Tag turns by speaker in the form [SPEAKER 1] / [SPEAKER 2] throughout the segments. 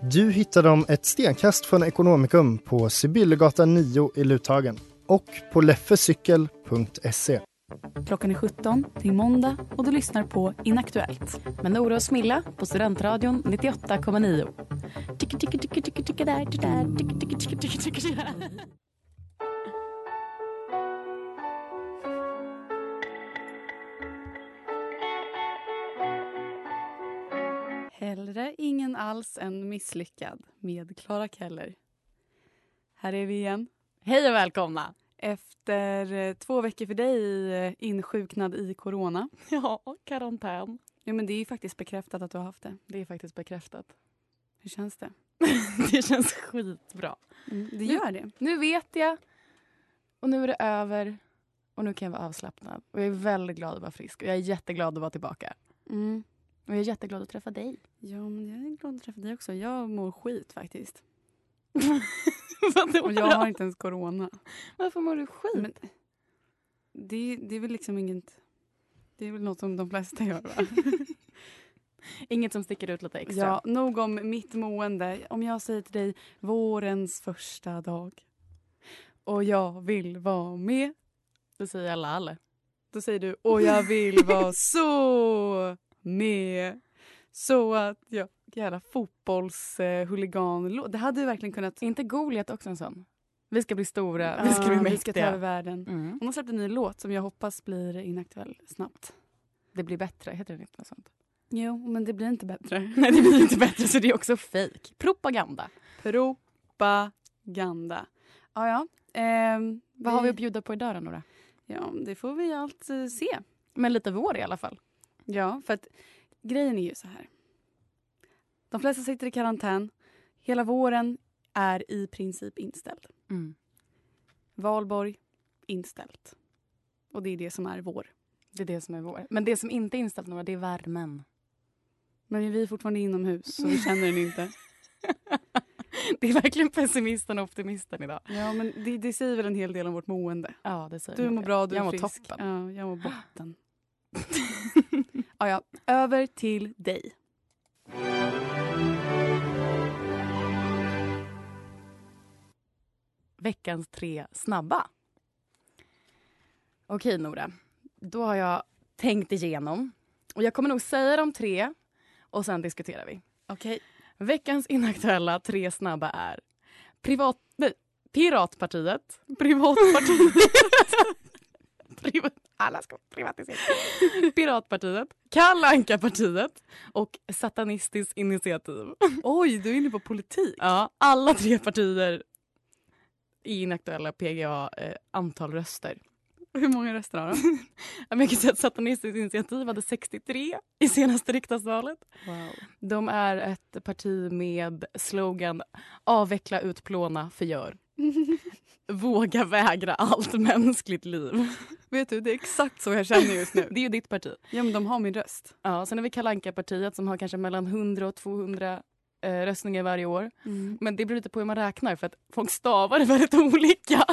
[SPEAKER 1] Du hittar dem ett stenkast från Ekonomikum på Sibyllegatan 9 i Luthagen och på leffecykel.se.
[SPEAKER 2] Klockan är 17, det är måndag och du lyssnar på Inaktuellt. Med Nora och Smilla på Studentradion 98,9. Tycker, tycker, tycker, tycker, tycker där, tycker där, tycker, tycker, tycker, tycker, tycker där. Hellre ingen alls än misslyckad med Clara Keller. Här är vi igen. Hej och välkomna! Efter eh, två veckor för dig i, eh, insjuknad i corona.
[SPEAKER 3] Ja, karantän.
[SPEAKER 2] Ja, men det är ju faktiskt bekräftat att du har haft det.
[SPEAKER 3] Det är faktiskt bekräftat.
[SPEAKER 2] Hur känns det?
[SPEAKER 3] Det känns skitbra.
[SPEAKER 2] Det gör det.
[SPEAKER 3] Nu vet jag. Och nu är det över. Och nu kan jag vara avslappnad. Och jag är väldigt glad att vara frisk. Och jag är jätteglad att vara tillbaka.
[SPEAKER 2] Mm.
[SPEAKER 3] Och jag är jätteglad att träffa dig.
[SPEAKER 2] Ja, men jag är glad att träffa dig också. Jag mår skit faktiskt.
[SPEAKER 3] Vadå
[SPEAKER 2] Och jag har
[SPEAKER 3] då?
[SPEAKER 2] inte ens corona.
[SPEAKER 3] Varför mår du skit?
[SPEAKER 2] Men det, det är väl liksom inget... Det är väl något som de flesta gör, va?
[SPEAKER 3] Inget som sticker ut lite extra.
[SPEAKER 2] Ja, nog om mitt mående. Om jag säger till dig vårens första dag och jag vill vara med
[SPEAKER 3] Då säger jag lall.
[SPEAKER 2] Då säger du och jag vill vara så med så att jag jävla fotbollshuligan. Det hade du verkligen kunnat.
[SPEAKER 3] Är inte Goliat också en sån? Vi ska bli stora,
[SPEAKER 2] Ja,
[SPEAKER 3] vi ska bli mäktiga.
[SPEAKER 2] vi ska ta över världen.
[SPEAKER 3] mm.
[SPEAKER 2] Hon har släppt en ny låt som jag hoppas blir inaktuell snabbt.
[SPEAKER 3] Det blir bättre, heter det inte något sånt?
[SPEAKER 2] Jo, men det blir inte bättre.
[SPEAKER 3] Nej, det blir inte bättre så det är också fejk. Propaganda.
[SPEAKER 2] Propaganda. Ja, ja. Ehm,
[SPEAKER 3] Vad har vi att bjuda på idag då, Nora?
[SPEAKER 2] Ja, det får vi allt eh, se.
[SPEAKER 3] Men lite vår i alla fall.
[SPEAKER 2] Ja, för att grejen är ju så här. De flesta sitter i karantän. Hela våren är i princip inställd.
[SPEAKER 3] Mm.
[SPEAKER 2] Valborg, inställt. Och det är det som är vår.
[SPEAKER 3] Det är det som är vår. Men det som inte är inställt några, det är värmen.
[SPEAKER 2] Men vi är fortfarande inomhus så vi känner den inte.
[SPEAKER 3] det är verkligen pessimisten och optimisten idag.
[SPEAKER 2] Ja, men det, det säger väl en hel del om vårt mående.
[SPEAKER 3] Ja, det säger
[SPEAKER 2] Du
[SPEAKER 3] nog
[SPEAKER 2] mår
[SPEAKER 3] det.
[SPEAKER 2] bra, du
[SPEAKER 3] Jag
[SPEAKER 2] är
[SPEAKER 3] mår
[SPEAKER 2] frisk.
[SPEAKER 3] toppen.
[SPEAKER 2] Ja, jag mår botten. ja, ja, över till dig.
[SPEAKER 3] Veckans tre snabba. Okej, Nora. Då har jag tänkt igenom. Och jag kommer nog säga de tre och sen diskuterar vi.
[SPEAKER 2] Okej.
[SPEAKER 3] Veckans inaktuella tre snabba är privat, nej, Piratpartiet, Privatpartiet Priva- alla ska privatiseras. Piratpartiet, Kalle Anka-partiet och Satanistiskt initiativ.
[SPEAKER 2] Oj, du är inne på politik.
[SPEAKER 3] Ja, alla tre partier i inaktuella PGA eh, antal röster.
[SPEAKER 2] Hur många röster har de?
[SPEAKER 3] Ja, men Jag kan säga att Satanistiskt initiativ hade 63 i senaste riksdagsvalet.
[SPEAKER 2] Wow.
[SPEAKER 3] De är ett parti med slogan avveckla, utplåna, förgör. Våga vägra allt mänskligt liv.
[SPEAKER 2] Vet du, det är exakt så jag känner just nu.
[SPEAKER 3] Det är ju ditt parti.
[SPEAKER 2] Ja, men de har min röst.
[SPEAKER 3] Ja, sen har vi Kalle Anka-partiet som har kanske mellan 100 och 200 eh, röstningar varje år. Men det beror lite på hur man räknar för att folk stavar det väldigt olika.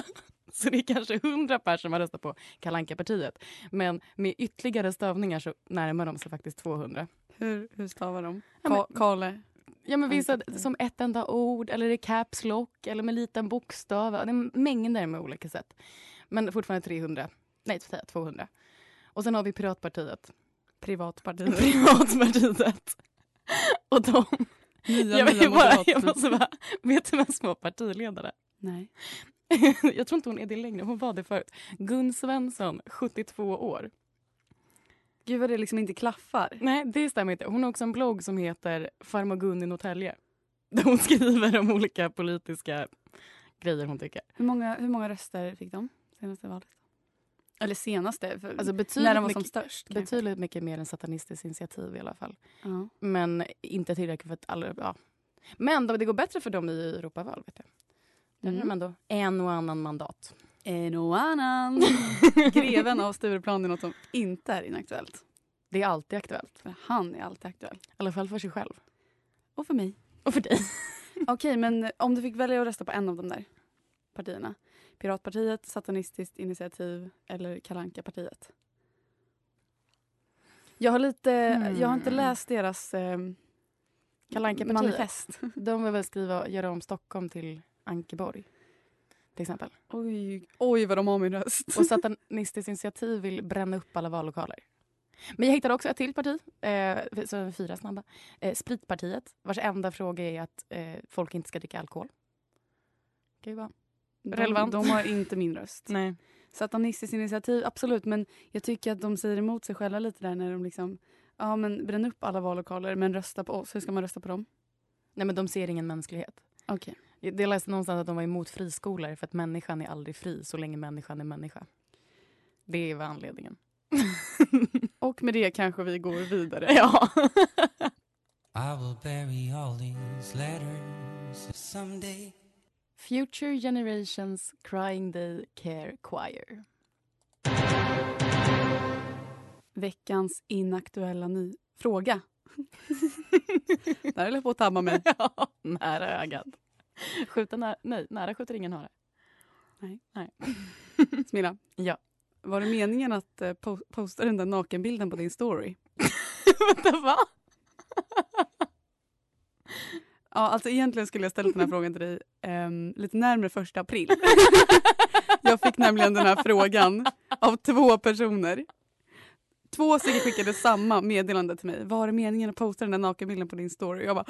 [SPEAKER 3] Så det är kanske 100 personer som har röstat på Kalle Anka-partiet. Men med ytterligare stavningar så närmar de sig faktiskt 200.
[SPEAKER 2] Hur, hur stavar de?
[SPEAKER 3] Ja, men-
[SPEAKER 2] Ka- Kale?
[SPEAKER 3] Ja, men vissa
[SPEAKER 2] Anka-partiet.
[SPEAKER 3] som ett enda ord, eller i caps lock, eller med liten bokstav. Ja, Det är mängder med olika sätt. Men fortfarande 300. Nej, säger jag, 200. Och sen har vi Piratpartiet.
[SPEAKER 2] Privatpartiet.
[SPEAKER 3] Privatpartiet. Och de Jag, vill bara, jag måste bara, vet du vem som var partiledare?
[SPEAKER 2] Nej.
[SPEAKER 3] jag tror inte hon är det längre, hon var det förut. Gun Svensson, 72 år.
[SPEAKER 2] Gud vad det liksom inte klaffar.
[SPEAKER 3] Nej, det stämmer inte. Hon har också en blogg som heter Farmor Gun i Norrtälje. Där hon skriver om olika politiska grejer hon tycker.
[SPEAKER 2] Hur många, hur många röster fick de senaste valet? Eller senaste,
[SPEAKER 3] Alltså
[SPEAKER 2] för när de
[SPEAKER 3] betydligt,
[SPEAKER 2] var som
[SPEAKER 3] mycket,
[SPEAKER 2] störst. kanske.
[SPEAKER 3] betydligt mycket mer än Satanistiskt initiativ i alla fall.
[SPEAKER 2] Ja.
[SPEAKER 3] Men inte tillräckligt för att alla... Ja. Men de- det går bättre för dem i Europaval. Vet jag. Där har
[SPEAKER 2] Mm.
[SPEAKER 3] de ändå en och annan mandat.
[SPEAKER 2] En och annan. Greven av Stureplan är något som inte är inaktuellt.
[SPEAKER 3] Det är alltid aktuellt.
[SPEAKER 2] För han är alltid aktuell.
[SPEAKER 3] I alla fall för sig själv.
[SPEAKER 2] Och för mig.
[SPEAKER 3] Och för dig.
[SPEAKER 2] Okej, men om du fick välja att rösta på en av de där partierna. Piratpartiet, Satanistiskt initiativ eller kalanka partiet Jag har lite, Eh, jag har inte
[SPEAKER 3] Mm.
[SPEAKER 2] läst deras eh,
[SPEAKER 3] Kalle Anka-partiet.
[SPEAKER 2] manifest.
[SPEAKER 3] De vill väl skriva göra om Stockholm till Ankeborg. Till exempel.
[SPEAKER 2] Oj, oj vad de har min röst.
[SPEAKER 3] Och Satanistiskt initiativ vill bränna upp alla vallokaler. Men jag hittade också ett till parti, eh, så är vi fyra snabba. Eh, Spritpartiet, vars enda fråga är att eh, folk inte ska dricka alkohol. Kan ju vara. relevant.
[SPEAKER 2] De, de har inte min röst.
[SPEAKER 3] Nej.
[SPEAKER 2] Satanistiskt initiativ, absolut. Men jag tycker att de säger emot sig själva lite där när de liksom Ja men bränn upp alla vallokaler men rösta på oss. Hur ska man rösta på dem?
[SPEAKER 3] Nej, men de ser ingen mänsklighet.
[SPEAKER 2] Okej.
[SPEAKER 3] Det jag läste någonstans att de var emot friskolor för att människan är aldrig fri så länge människan är människa. Det var anledningen.
[SPEAKER 2] Och med det kanske vi går vidare.
[SPEAKER 3] ja.
[SPEAKER 4] I will bury all these letters someday.
[SPEAKER 3] Future Generations Crying Day Care Choir.
[SPEAKER 2] Veckans inaktuella ny fråga. Där höll jag på att tabba mig.
[SPEAKER 3] Ja, nära ögat. Skjuta nära, nej, nära skjuter ingen hare.
[SPEAKER 2] Smilla.
[SPEAKER 3] Ja.
[SPEAKER 2] Var det meningen att eh, po- posta den där nakenbilden på din story?
[SPEAKER 3] Vänta, va?
[SPEAKER 2] Ja, alltså egentligen skulle jag ställa den här frågan till dig ehm, lite närmare första april. Jag fick nämligen den här frågan av två personer. Två stycken skickade samma meddelande till mig. Var det meningen att posta den där nakenbilden på din story? Jag bara,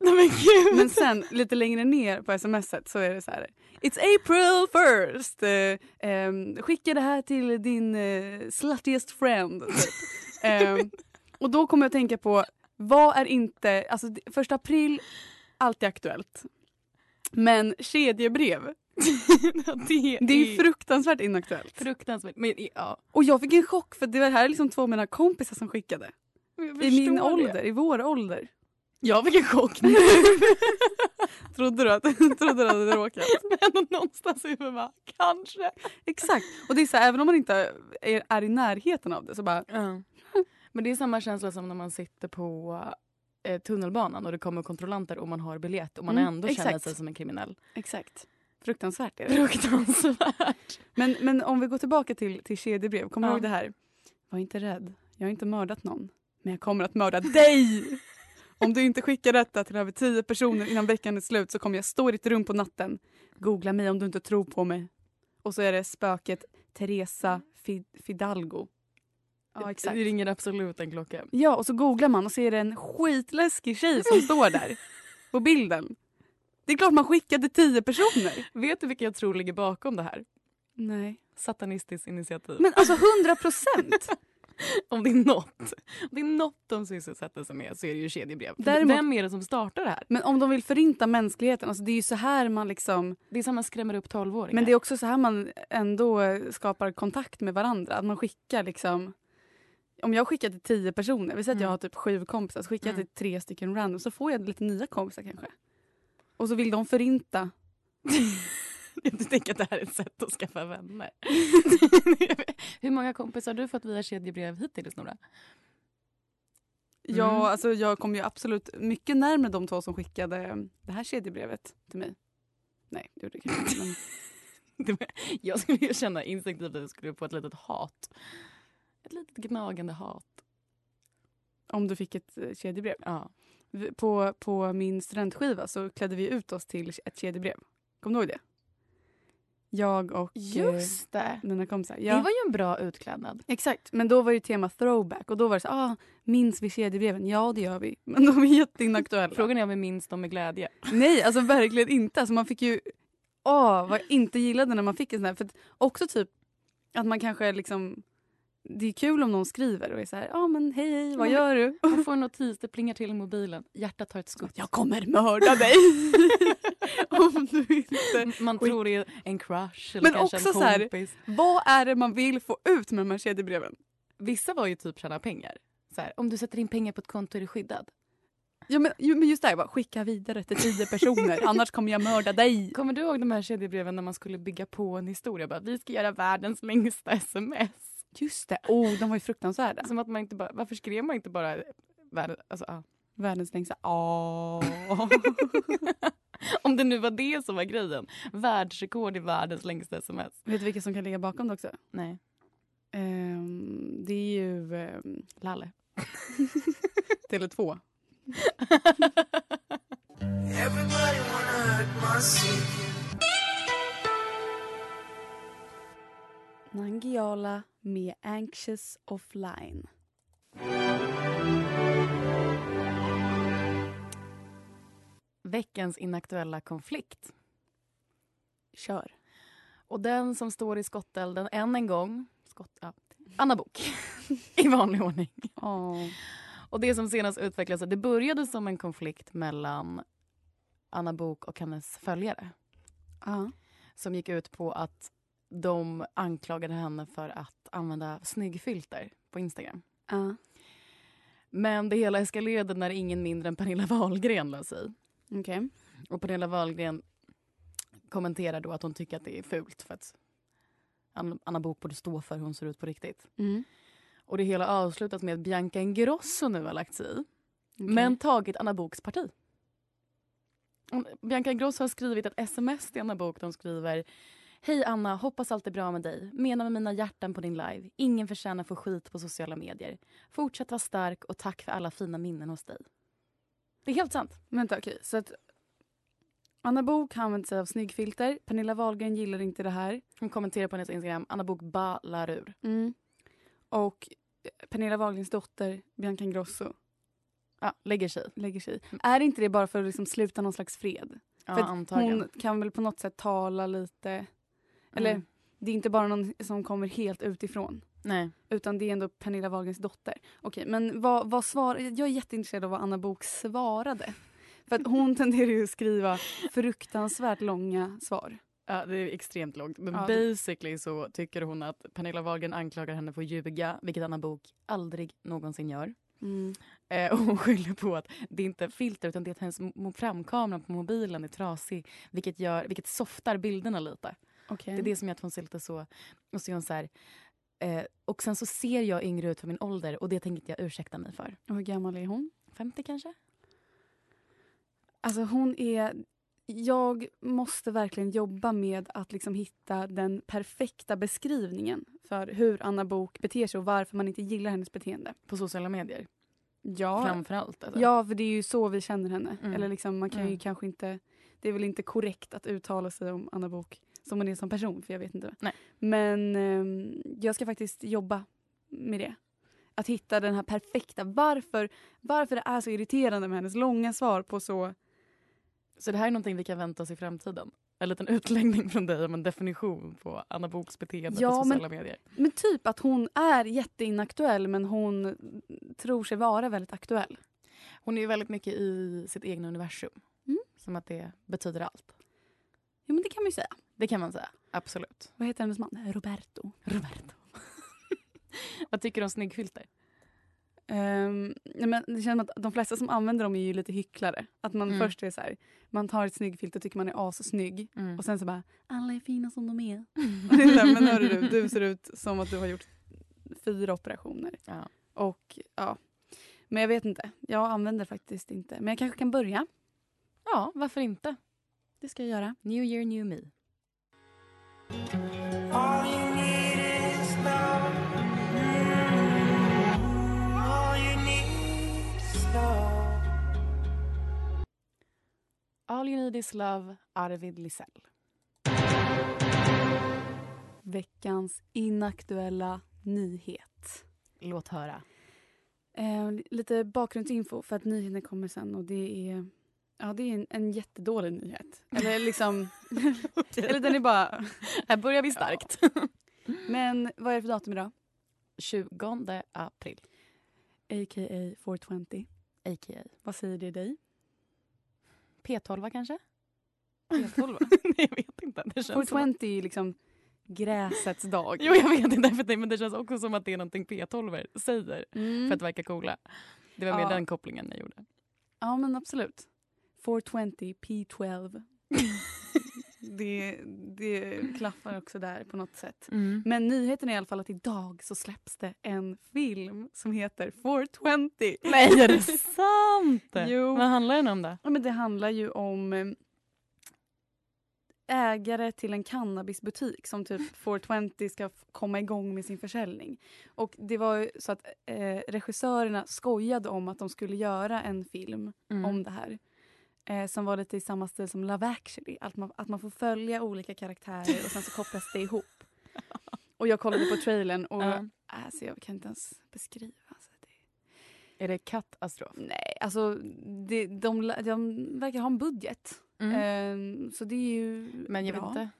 [SPEAKER 3] Nej men gud!
[SPEAKER 2] Men sen lite längre ner på smset så är det så här. It's April first! Eh, ehm, skicka det här till din eh, sluttiest friend. typ. Ehm, och då kommer jag att tänka på vad är inte, alltså d- första april, alltid aktuellt. Men kedjebrev,
[SPEAKER 3] det,
[SPEAKER 2] det är ju fruktansvärt inaktuellt.
[SPEAKER 3] fruktansvärt. Men, ja.
[SPEAKER 2] Och jag fick en chock för det var här är liksom två av mina kompisar som skickade. I min ålder, i vår ålder.
[SPEAKER 3] Jag fick en chock nu.
[SPEAKER 2] Trodde du att, trodde du att du hade råkat?
[SPEAKER 3] men någonstans i huvudet bara, kanske.
[SPEAKER 2] Exakt. Och det är så här, även om man inte är, är i närheten av det så bara...
[SPEAKER 3] Men det är samma känsla som när man sitter på eh, tunnelbanan och det kommer kontrollanter och man har biljett och man
[SPEAKER 2] Mm,
[SPEAKER 3] ändå känner
[SPEAKER 2] exakt.
[SPEAKER 3] sig som en kriminell.
[SPEAKER 2] Exakt. Fruktansvärt är det.
[SPEAKER 3] Fruktansvärt.
[SPEAKER 2] Men, men om vi går tillbaka till, till kedjebrev. Kommer
[SPEAKER 3] Ja.
[SPEAKER 2] du ihåg det här? Var inte rädd. Jag har inte mördat någon. Men jag kommer att mörda dig! Om du inte skickar detta till över tio personer innan veckan är slut så kommer jag stå i ditt rum på natten. Googla mig om du inte tror på mig. Och så är det spöket Teresa Fid- Fidalgo. Ja, exakt.
[SPEAKER 3] Det ringer absolut en klocka.
[SPEAKER 2] Ja, och så googlar man och ser en skitläskig tjej som står där på bilden. Det är klart man skickade tio personer.
[SPEAKER 3] Vet du vilka jag tror ligger bakom det här?
[SPEAKER 2] Nej.
[SPEAKER 3] Satanistiskt initiativ.
[SPEAKER 2] Men alltså hundra procent!
[SPEAKER 3] Om det är något, om det är något de sysselsätter sig med så är det ju kedjebrev. För
[SPEAKER 2] Däremot-
[SPEAKER 3] Vem är det som startar det här?
[SPEAKER 2] Men om de vill förinta mänskligheten, alltså det är ju så här man liksom...
[SPEAKER 3] Det är som man skrämmer upp tolvåringar.
[SPEAKER 2] Men det är också så här man ändå eh, skapar kontakt med varandra. Att man skickar liksom... Om jag skickar till tio personer, vi säger att
[SPEAKER 3] Mm.
[SPEAKER 2] jag har typ sju kompisar, så skickar jag
[SPEAKER 3] Mm.
[SPEAKER 2] till tre stycken random så får jag lite nya kompisar kanske. Och så vill de förinta.
[SPEAKER 3] Jag tänker att det här är ett sätt att skaffa vänner. Hur många kompisar har du fått via kedjebrev hittills, Nora? Mm.
[SPEAKER 2] Ja, alltså jag kom ju absolut mycket närmare de två som skickade det här kedjebrevet till mig. Nej, det gjorde jag kanske inte. Men...
[SPEAKER 3] Jag skulle ju känna instinktivt att jag skulle få ett litet hat. Ett litet gnagande hat.
[SPEAKER 2] Om du fick ett eh, kedjebrev.
[SPEAKER 3] Ja.
[SPEAKER 2] V- På, på min studentskiva så klädde vi ut oss till ett kedjebrev. Kommer du ihåg det? Jag och Just.
[SPEAKER 3] Just det.
[SPEAKER 2] Eh, mina kompisar.
[SPEAKER 3] Det
[SPEAKER 2] Ja,
[SPEAKER 3] var ju en bra utklädnad.
[SPEAKER 2] Exakt, men då var det tema throwback och då var det så ah, minns vi kedjebreven? Ja det gör vi, men de är jätteinaktuella.
[SPEAKER 3] Frågan är om vi minns dem med glädje.
[SPEAKER 2] Nej, alltså verkligen inte. Alltså man fick ju... Åh, vad jag inte gillade när man fick en sån här. För att också typ att man kanske liksom... Det är kul om någon skriver och är så här, ja men hej, hej, vad gör du?
[SPEAKER 3] Man får en notis, det plingar till i mobilen. Hjärtat tar ett skutt.
[SPEAKER 2] Jag kommer mörda dig! om du inte...
[SPEAKER 3] Man tror det är en crush eller
[SPEAKER 2] Men
[SPEAKER 3] kanske
[SPEAKER 2] också
[SPEAKER 3] en
[SPEAKER 2] så här-
[SPEAKER 3] kompis.
[SPEAKER 2] Vad är det man vill få ut med de här kedjebreven?
[SPEAKER 3] Vissa var ju typ tjäna pengar. Så här, om du sätter in pengar på ett konto är du skyddad.
[SPEAKER 2] Ja, men, ju, men just det här, bara, skicka vidare till tio personer annars kommer jag mörda dig.
[SPEAKER 3] Kommer du ihåg de här kedjebreven när man skulle bygga på en historia? Bara, vi ska göra världens längsta sms.
[SPEAKER 2] Just det, oh, de var ju fruktansvärda.
[SPEAKER 3] Som att man inte bara, varför skrev man inte bara värld, alltså, ah.
[SPEAKER 2] Världens längsta
[SPEAKER 3] Åh. Om det nu var det som var grejen. Världsrekord i världens längsta sms.
[SPEAKER 2] Vet du vilka som kan ligga bakom det också?
[SPEAKER 3] Nej.
[SPEAKER 2] Ehm, det är ju ehm,
[SPEAKER 3] Lalle.
[SPEAKER 2] Tele2. Nangijala med Anxious Offline.
[SPEAKER 3] Veckans inaktuella konflikt.
[SPEAKER 2] Kör.
[SPEAKER 3] Och den som står i skottelden än en gång. Skott, ja. Anna Bok. I vanlig ordning.
[SPEAKER 2] Oh.
[SPEAKER 3] Och det som senast utvecklades, det började som en konflikt mellan Anna Bok och hennes följare.
[SPEAKER 2] Ja.
[SPEAKER 3] Som gick ut på att de anklagade henne för att använda snyggfilter på Instagram.
[SPEAKER 2] Ja.
[SPEAKER 3] Men det hela eskalerade när ingen mindre än Pernilla Wahlgren la sig.
[SPEAKER 2] Okej.
[SPEAKER 3] Och Pernilla Wahlgren kommenterar då att hon tycker att det är fult för att Ann- Anna Bok borde stå för hur hon ser ut på riktigt.
[SPEAKER 2] Mm.
[SPEAKER 3] Och det hela avslutas med att Bianca Ingrosso nu har lagt sig i. men tagit Anna Boks parti. Hon- Bianca Ingrosso har skrivit ett sms till Anna Bok. De skriver Hej Anna, hoppas allt är bra med dig. Menar med mina hjärtan på din live. Ingen förtjänar få skit på sociala medier. Fortsätt vara stark och tack för alla fina minnen hos dig. Det är helt sant.
[SPEAKER 2] Vänta, okej. Så att Anna Bok använder sig av snyggfilter. Pernilla Wahlgren gillar inte det här.
[SPEAKER 3] Hon kommenterar på hennes Instagram, Anna Bok ballar ur.
[SPEAKER 2] Och eh, Pernilla Wahlgrens dotter, Bianca Ingrosso,
[SPEAKER 3] Ja, lägger sig.
[SPEAKER 2] lägger sig i. Är inte det bara för att liksom sluta någon slags fred?
[SPEAKER 3] Ja,
[SPEAKER 2] För att
[SPEAKER 3] antagligen.
[SPEAKER 2] Hon kan väl på något sätt tala lite. Eller
[SPEAKER 3] Mm.
[SPEAKER 2] det är inte bara någon som kommer helt utifrån.
[SPEAKER 3] Nej.
[SPEAKER 2] Utan det är ändå Pernilla Wahlgrens dotter. Okej, men vad, vad svar, jag är jätteintresserad av vad Anna Bok svarade. För att hon tenderar ju att skriva fruktansvärt långa svar.
[SPEAKER 3] Ja, det är extremt långt. Men
[SPEAKER 2] Ja, det-
[SPEAKER 3] basically så tycker hon att Pernilla Wahlgren anklagar henne för att ljuga, vilket Anna Bok aldrig någonsin gör.
[SPEAKER 2] Mm.
[SPEAKER 3] Eh, och hon skyller på att det inte är filter utan det är att hennes mo- framkamera på mobilen är trasig vilket, gör, vilket softar bilderna lite.
[SPEAKER 2] Okej.
[SPEAKER 3] Det är det som gör att hon ser lite så... Och så är hon så här... Eh, och sen så ser jag yngre ut för min ålder och det tänkte jag ursäkta mig för.
[SPEAKER 2] Och hur gammal är hon?
[SPEAKER 3] 50 kanske?
[SPEAKER 2] Alltså hon är... Jag måste verkligen jobba med att liksom hitta den perfekta beskrivningen för hur Anna Bok beter sig och varför man inte gillar hennes beteende.
[SPEAKER 3] På sociala medier
[SPEAKER 2] Ja,
[SPEAKER 3] framför allt. Alltså.
[SPEAKER 2] ja för det är ju så vi känner henne.
[SPEAKER 3] Mm.
[SPEAKER 2] Eller liksom, man kan ju
[SPEAKER 3] Mm.
[SPEAKER 2] kanske inte... Det är väl inte korrekt att uttala sig om Anna Bok som hon är som person, för jag vet inte.
[SPEAKER 3] Nej.
[SPEAKER 2] Men ehm, jag ska faktiskt jobba med det. Att hitta den här perfekta. Varför, varför det är så irriterande med hennes långa svar på så...
[SPEAKER 3] Så det här är någonting vi kan vänta oss i framtiden. En liten utläggning från dig om en definition på Anna Boks beteende
[SPEAKER 2] Ja,
[SPEAKER 3] på
[SPEAKER 2] men-
[SPEAKER 3] sociala medier.
[SPEAKER 2] Men typ att hon är jätteinaktuell men hon tror sig vara väldigt aktuell.
[SPEAKER 3] Hon är ju väldigt mycket i sitt egna universum.
[SPEAKER 2] Mm.
[SPEAKER 3] Som att det betyder allt.
[SPEAKER 2] Ja men det kan man ju säga.
[SPEAKER 3] Det kan man säga. Absolut.
[SPEAKER 2] Vad heter hennes man? Roberto.
[SPEAKER 3] Roberto. Vad tycker du om snyggfilter?
[SPEAKER 2] Ehm, nej, men det känns som att de flesta som använder dem är ju lite hycklare. Att man
[SPEAKER 3] Mm.
[SPEAKER 2] först är så här, man tar ett snyggfilter och tycker man är assnygg
[SPEAKER 3] Mm.
[SPEAKER 2] och sen så bara alla är fina som de är. Och det är så här, men hörru du, du ser ut som att du har gjort fyra operationer.
[SPEAKER 3] Ja.
[SPEAKER 2] Och ja, men jag vet inte. Jag använder faktiskt inte. Men jag kanske kan börja.
[SPEAKER 3] Ja, varför inte?
[SPEAKER 2] Det ska jag göra.
[SPEAKER 3] New year, new me. All you need is love, Arvid Lisell.
[SPEAKER 2] veckans inaktuella nyhet.
[SPEAKER 3] Låt höra.
[SPEAKER 2] Eh, lite bakgrundsinfo för att nyheten kommer sen och det är, ja, det är en, en jättedålig nyhet. Eller liksom, eller den är bara...
[SPEAKER 3] Här börjar vi starkt.
[SPEAKER 2] Men vad är det för datum idag?
[SPEAKER 3] 20 april.
[SPEAKER 2] A.k.a. 420.
[SPEAKER 3] A.k.a.
[SPEAKER 2] Vad säger det dig?
[SPEAKER 3] P12 kanske?
[SPEAKER 2] P12?
[SPEAKER 3] Nej, jag vet inte. Det känns som att...
[SPEAKER 2] 420 är liksom gräsets dag.
[SPEAKER 3] Jo, jag vet inte. För det, men det känns också som att det är någonting P12 säger
[SPEAKER 2] Mm.
[SPEAKER 3] för att verka coola. Det var
[SPEAKER 2] Ja.
[SPEAKER 3] mer den kopplingen jag gjorde.
[SPEAKER 2] Ja, men absolut. 420 P12. det, det klaffar också där på något sätt. Men nyheten är i alla fall att idag så släpps det en film som heter 420.
[SPEAKER 3] Nej, är det sant?
[SPEAKER 2] Jo.
[SPEAKER 3] Vad handlar den om då?
[SPEAKER 2] Ja, men det handlar ju om eh, ägare till en cannabisbutik som typ 420 ska f- komma igång med sin försäljning. Och det var ju så att eh, regissörerna skojade om att de skulle göra en film
[SPEAKER 3] Mm.
[SPEAKER 2] om det här. Eh, som var lite i samma stil som Love actually. Att man, att man får följa olika karaktärer och sen så kopplas det ihop. Och jag kollade på trailern och
[SPEAKER 3] Ja.
[SPEAKER 2] alltså, jag kan inte ens beskriva. Alltså, det
[SPEAKER 3] Är det katastrof?
[SPEAKER 2] Nej, alltså det, de, la- de verkar ha en budget. Ehm, så det är ju
[SPEAKER 3] Mm. Men jag
[SPEAKER 2] bra.
[SPEAKER 3] vet inte.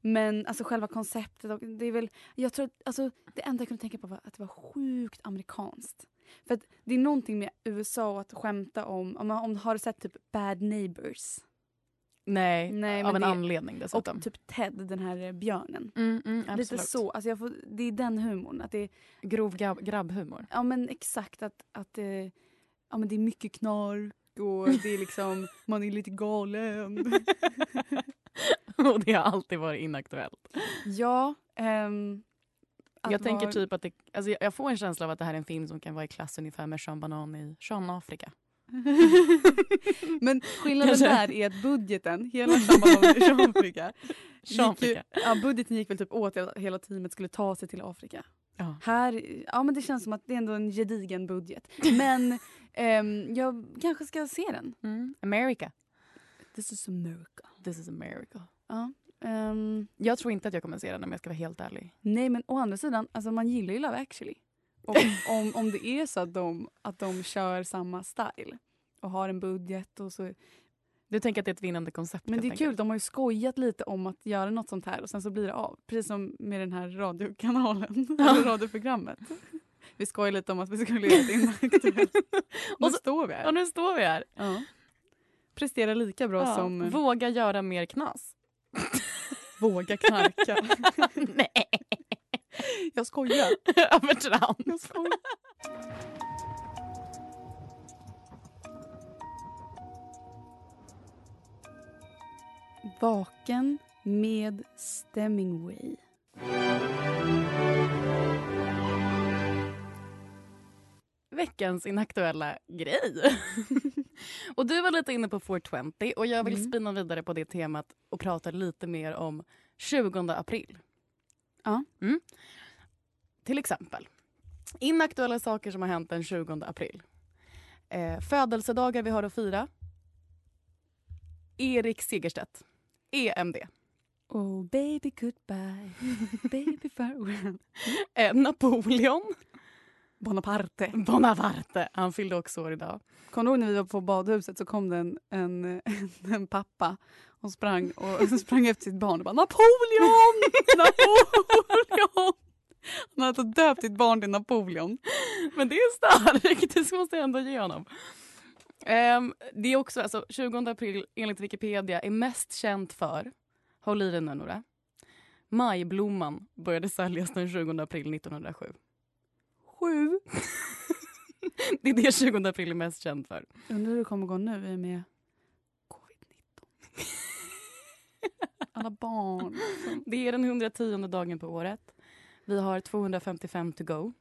[SPEAKER 2] Men alltså själva konceptet, och det är väl... Jag tror att, alltså, det enda jag kunde tänka på var att det var sjukt amerikanskt. För att det är någonting med USA och att skämta om, om, om har du sett typ Bad Neighbors?
[SPEAKER 3] Nej,
[SPEAKER 2] Nej,
[SPEAKER 3] av en
[SPEAKER 2] men det-
[SPEAKER 3] anledning
[SPEAKER 2] Och
[SPEAKER 3] dessutom.
[SPEAKER 2] typ Ted, den här eh, björnen.
[SPEAKER 3] Mm, mm,
[SPEAKER 2] Lite
[SPEAKER 3] absolut.
[SPEAKER 2] så, alltså jag får, det är den humorn. Att det är,
[SPEAKER 3] Grov grabb, grabbhumor.
[SPEAKER 2] ja men exakt att, att eh, ja, men det är mycket knark och det är liksom, man är lite galen.
[SPEAKER 3] och det har alltid varit inaktuellt.
[SPEAKER 2] Ja. ehm, att
[SPEAKER 3] jag tänker
[SPEAKER 2] vara-
[SPEAKER 3] typ att det, alltså jag, jag får en känsla av att det här är en film som kan vara i klass ungefär med Sean Banan i Sean Afrika.
[SPEAKER 2] Men skillnaden
[SPEAKER 3] Kanske.
[SPEAKER 2] där är att budgeten, hela Afrika,
[SPEAKER 3] Sean
[SPEAKER 2] gick ju,
[SPEAKER 3] Afrika.
[SPEAKER 2] ja, budgeten gick väl typ åt att hela teamet skulle ta sig till Afrika.
[SPEAKER 3] Ja.
[SPEAKER 2] Här, ja men det känns som att det är ändå en gedigen budget. Men ehm, jag kanske ska se den.
[SPEAKER 3] Mm. America.
[SPEAKER 2] This is America.
[SPEAKER 3] This is America.
[SPEAKER 2] Ja. ehm,
[SPEAKER 3] Jag tror inte att jag kommer se den om jag ska vara helt ärlig.
[SPEAKER 2] nej men å andra sidan, alltså man gillar ju Love actually. Och om, om det är så att de, att de kör samma style och har en budget och så
[SPEAKER 3] Du tänker att det är ett vinnande koncept
[SPEAKER 2] Men det är
[SPEAKER 3] helt
[SPEAKER 2] kul,
[SPEAKER 3] enkelt.
[SPEAKER 2] de har ju skojat lite om att göra något sånt här och sen så blir det av. Precis som med den här radiokanalen, eller radioprogrammet. Vi skojade lite om att vi skulle göra det inaktuellt. Nu
[SPEAKER 3] Och så-
[SPEAKER 2] står vi här.
[SPEAKER 3] Och nu står vi här.
[SPEAKER 2] Ja. Presterar lika bra
[SPEAKER 3] Ja.
[SPEAKER 2] som
[SPEAKER 3] Våga göra mer knas.
[SPEAKER 2] våga knarka.
[SPEAKER 3] Nej,
[SPEAKER 2] Jag skojar.
[SPEAKER 3] övertramp.
[SPEAKER 2] Vaken med Stemmingway.
[SPEAKER 3] veckans inaktuella grej. och du var lite inne på 420 och jag vill
[SPEAKER 2] Mm.
[SPEAKER 3] spinna vidare på det temat och prata lite mer om 20 april.
[SPEAKER 2] Ja.
[SPEAKER 3] Mm. Till exempel, inaktuella saker som har hänt den 20 april. Eh, födelsedagar vi har att fira. Erik Segerstedt, E EMD.
[SPEAKER 2] Oh baby goodbye, baby farewell.
[SPEAKER 3] Eh, Napoleon
[SPEAKER 2] Bonaparte.
[SPEAKER 3] Bonavarte, han fyllde också år idag.
[SPEAKER 2] Kommer du ihåg när vi var på badhuset så kom det en, en, en pappa och sprang, och sprang efter sitt barn och bara Napoleon! Napoleon! Han hade alltså döpt sitt barn till Napoleon.
[SPEAKER 3] Men det är starkt, det måste jag ändå ge honom. Ehm, det är också, alltså 20 april enligt Wikipedia är mest känt för, håll i dig nu Nora, majblomman började säljas den 20 april 1907. Sju? det är det 20 april är mest känd för.
[SPEAKER 2] Undrar hur det kommer gå nu i och med covid-19. Alla barn. som-
[SPEAKER 3] Det är den 110 dagen på året. Vi har 255 to go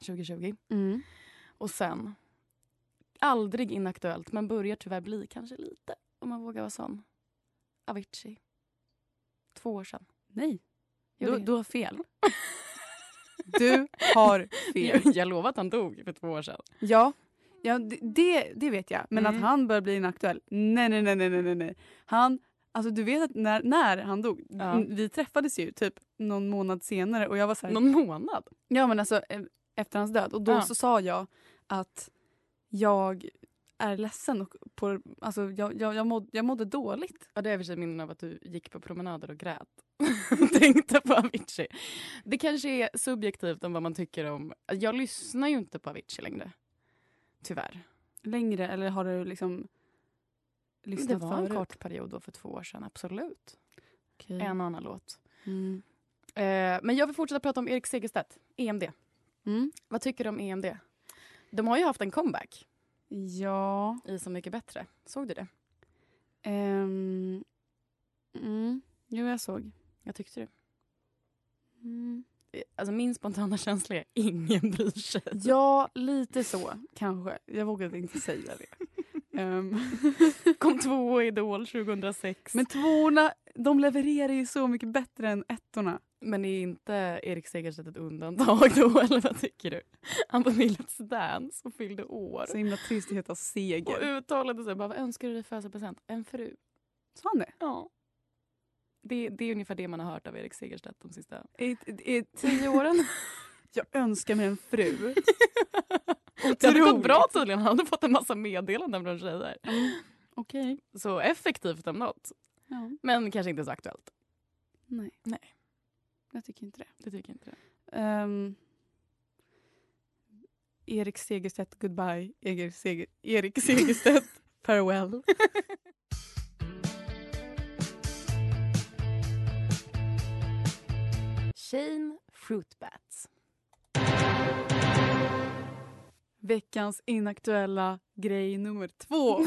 [SPEAKER 3] 2020.
[SPEAKER 2] Mm.
[SPEAKER 3] Och sen, aldrig inaktuellt, men börjar tyvärr bli kanske lite, om man vågar vara sån. Avicii. Två år sedan.
[SPEAKER 2] Nej,
[SPEAKER 3] Jag
[SPEAKER 2] du,
[SPEAKER 3] vet.
[SPEAKER 2] du har fel. Du har fel.
[SPEAKER 3] Jag, jag lovar att han dog för två år sedan.
[SPEAKER 2] Ja, ja det- det, det vet jag. Men
[SPEAKER 3] Mm.
[SPEAKER 2] att han börjar bli inaktuell? Nej, nej, nej, nej, nej, nej. Han, Alltså du vet att när, när han dog,
[SPEAKER 3] Ja.
[SPEAKER 2] vi träffades ju typ någon månad senare och jag var så här,
[SPEAKER 3] Någon månad?
[SPEAKER 2] ja men alltså eh, efter hans död och då
[SPEAKER 3] Ja.
[SPEAKER 2] så sa jag att jag är ledsen och på, alltså jag, jag, jag, mådde, jag mådde dåligt.
[SPEAKER 3] Ja, det är i och för sig minnen av att du gick på promenader och grät. Tänkte på Avicii. Det kanske är subjektivt om vad man tycker om... Jag lyssnar ju inte på Avicii längre. Tyvärr.
[SPEAKER 2] Längre eller har du liksom lyssnat
[SPEAKER 3] Det var en
[SPEAKER 2] förut?
[SPEAKER 3] kort period då för två år sedan, absolut.
[SPEAKER 2] Okej.
[SPEAKER 3] En och annan låt.
[SPEAKER 2] Mm.
[SPEAKER 3] Eh, men jag vill fortsätta prata om Erik Segerstedt, EMD.
[SPEAKER 2] Mm.
[SPEAKER 3] Vad tycker du om EMD? De har ju haft en comeback
[SPEAKER 2] Ja.
[SPEAKER 3] i Så mycket bättre. Såg du det?
[SPEAKER 2] ehm, mm. Jo, jag såg.
[SPEAKER 3] Jag tyckte det.
[SPEAKER 2] Mm.
[SPEAKER 3] Eh, Alltså min spontana känsla är ingen bryr sig.
[SPEAKER 2] Ja, lite så kanske. Jag vågade inte säga det. Ehm,
[SPEAKER 3] Kom två i Idol 2006.
[SPEAKER 2] men tvåorna, de levererar ju så mycket bättre än ettorna.
[SPEAKER 3] Men är inte Erik Segerstedt ett undantag då, eller vad tycker du? Han var med i Let's Dance och fyllde år.
[SPEAKER 2] Så himla trist att heta
[SPEAKER 3] Och
[SPEAKER 2] Seger.
[SPEAKER 3] uttalade sig bara, vad önskar du dig i födelsedagspresent? En fru.
[SPEAKER 2] Sa han det?
[SPEAKER 3] Ja. Det, det är ungefär det man har hört av Erik Segerstedt de sista...
[SPEAKER 2] I, i, i tio åren? Jag önskar mig en fru.
[SPEAKER 3] Det hade gått
[SPEAKER 2] Otroligt.
[SPEAKER 3] bra tydligen, han hade fått en massa meddelanden från tjejer.
[SPEAKER 2] Okej.
[SPEAKER 3] Så effektivt om något.
[SPEAKER 2] Ja,
[SPEAKER 3] Men kanske inte så aktuellt.
[SPEAKER 2] nej.
[SPEAKER 3] Nej.
[SPEAKER 2] Jag tycker inte det.
[SPEAKER 3] Det tycker jag inte det.
[SPEAKER 2] Ehm, Erik Segerstedt, goodbye. Erik, Seger, Erik Segerstedt, farewell.
[SPEAKER 3] Shane Fruitbats.
[SPEAKER 2] Veckans inaktuella grej nummer två.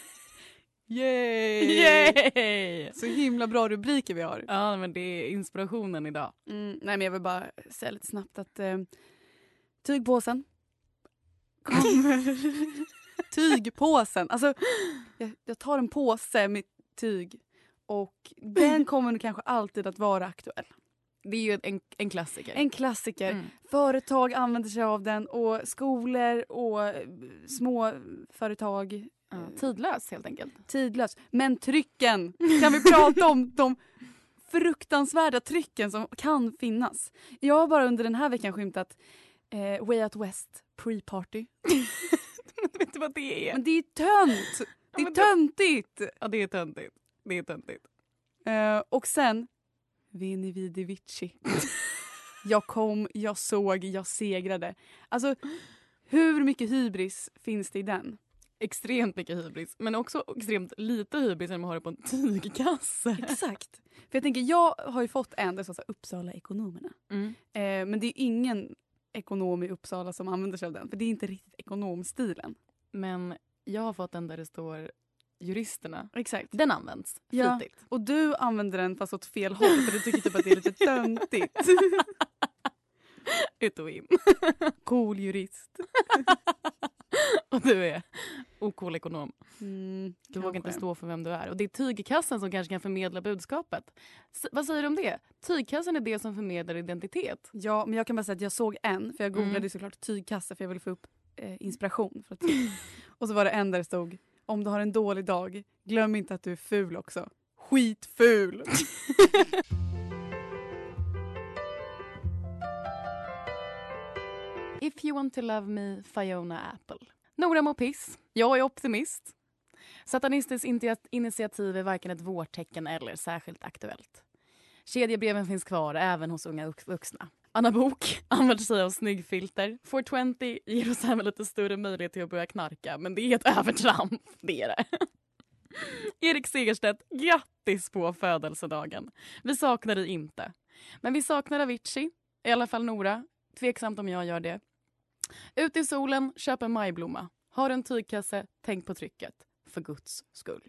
[SPEAKER 2] Yay!
[SPEAKER 3] Yay!
[SPEAKER 2] Så himla bra rubriker vi har.
[SPEAKER 3] Ja, men det är inspirationen idag.
[SPEAKER 2] Mm, nej men jag vill bara säga lite snabbt att eh, tygpåsen kommer... tygpåsen! Alltså, jag, jag tar en påse med tyg och den kommer kanske alltid att vara aktuell.
[SPEAKER 3] Det är ju en, en klassiker.
[SPEAKER 2] En klassiker.
[SPEAKER 3] Mm.
[SPEAKER 2] Företag använder sig av den och skolor och eh, små företag.
[SPEAKER 3] Ja, tidlös helt enkelt.
[SPEAKER 2] Tidlös. Men trycken! Kan vi prata om de fruktansvärda trycken som kan finnas? Jag har bara under den här veckan skymtat eh, Way Out West pre-party.
[SPEAKER 3] Vet du vad det är?
[SPEAKER 2] Men det är tönt! Det är
[SPEAKER 3] men
[SPEAKER 2] töntigt!
[SPEAKER 3] Ja, det är töntigt. Det är töntigt.
[SPEAKER 2] Eh, och sen Veni Vidi Vici. jag kom, jag såg, jag segrade. Alltså, hur mycket hybris finns det i den?
[SPEAKER 3] Extremt mycket hybris, men också extremt lite hybris när man har det på en tygkasse.
[SPEAKER 2] Exakt. För jag tänker, jag har ju fått en, det står så här, Uppsala-ekonomerna.
[SPEAKER 3] Mm.
[SPEAKER 2] Eh, men det är ingen ekonom i Uppsala som använder sig av den, för det är inte riktigt ekonomstilen.
[SPEAKER 3] Men jag har fått den där det står juristerna.
[SPEAKER 2] Exakt.
[SPEAKER 3] Den används
[SPEAKER 2] Ja.
[SPEAKER 3] flitigt.
[SPEAKER 2] Och du använder den fast åt fel håll, för du tycker typ att det är lite töntigt.
[SPEAKER 3] Ut och in.
[SPEAKER 2] Cool jurist.
[SPEAKER 3] Och du är ocool ekonom.
[SPEAKER 2] Mm,
[SPEAKER 3] Du vågar inte
[SPEAKER 2] kanske.
[SPEAKER 3] stå för vem du är. Och det är tygkassen som kanske kan förmedla budskapet. S- vad säger du om det? Tygkassen är det som förmedlar identitet.
[SPEAKER 2] Ja, men jag kan bara säga att jag såg en, för jag googlade
[SPEAKER 3] Mm.
[SPEAKER 2] ju såklart tygkasse för jag ville få upp eh, inspiration. För att, och så var det en där det stod om du har en dålig dag, glöm inte att du är ful också. Skitful!
[SPEAKER 3] If you want to love me, Fiona Apple. Nora mår piss. Jag är optimist. Satanistiskt inti- initiativ är varken ett vårtecken eller särskilt aktuellt. Kedjebreven finns kvar även hos unga vux- vuxna. Anna Bok använder sig av snyggfilter. 420 ger oss även lite större möjlighet till att börja knarka, men det är ett övertramp. Det är det. Erik Segerstedt, grattis på födelsedagen. Vi saknar dig inte. Men vi saknar Avicii, i alla fall Nora. Tveksamt om jag gör det. Ut i solen, köp en majblomma. Har en tygkasse, tänk på trycket. För guds skull.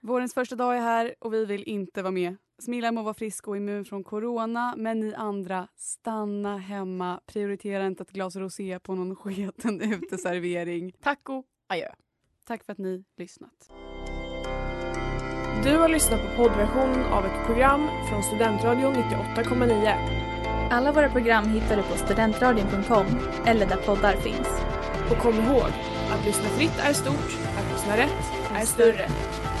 [SPEAKER 2] Vårens första dag är här och vi vill inte vara med. Smilla må vara frisk och immun från corona, men ni andra, stanna hemma. Prioritera inte ett glas rosé på någon sketen uteservering.
[SPEAKER 3] Taco, adjö.
[SPEAKER 2] Tack för att ni lyssnat.
[SPEAKER 5] Du har lyssnat på poddversionen av ett program från Studentradion 98,9.
[SPEAKER 6] Alla våra program hittar du på studentradion.com eller där poddar finns.
[SPEAKER 5] Och kom ihåg, att lyssna fritt är stort, att lyssna rätt är större.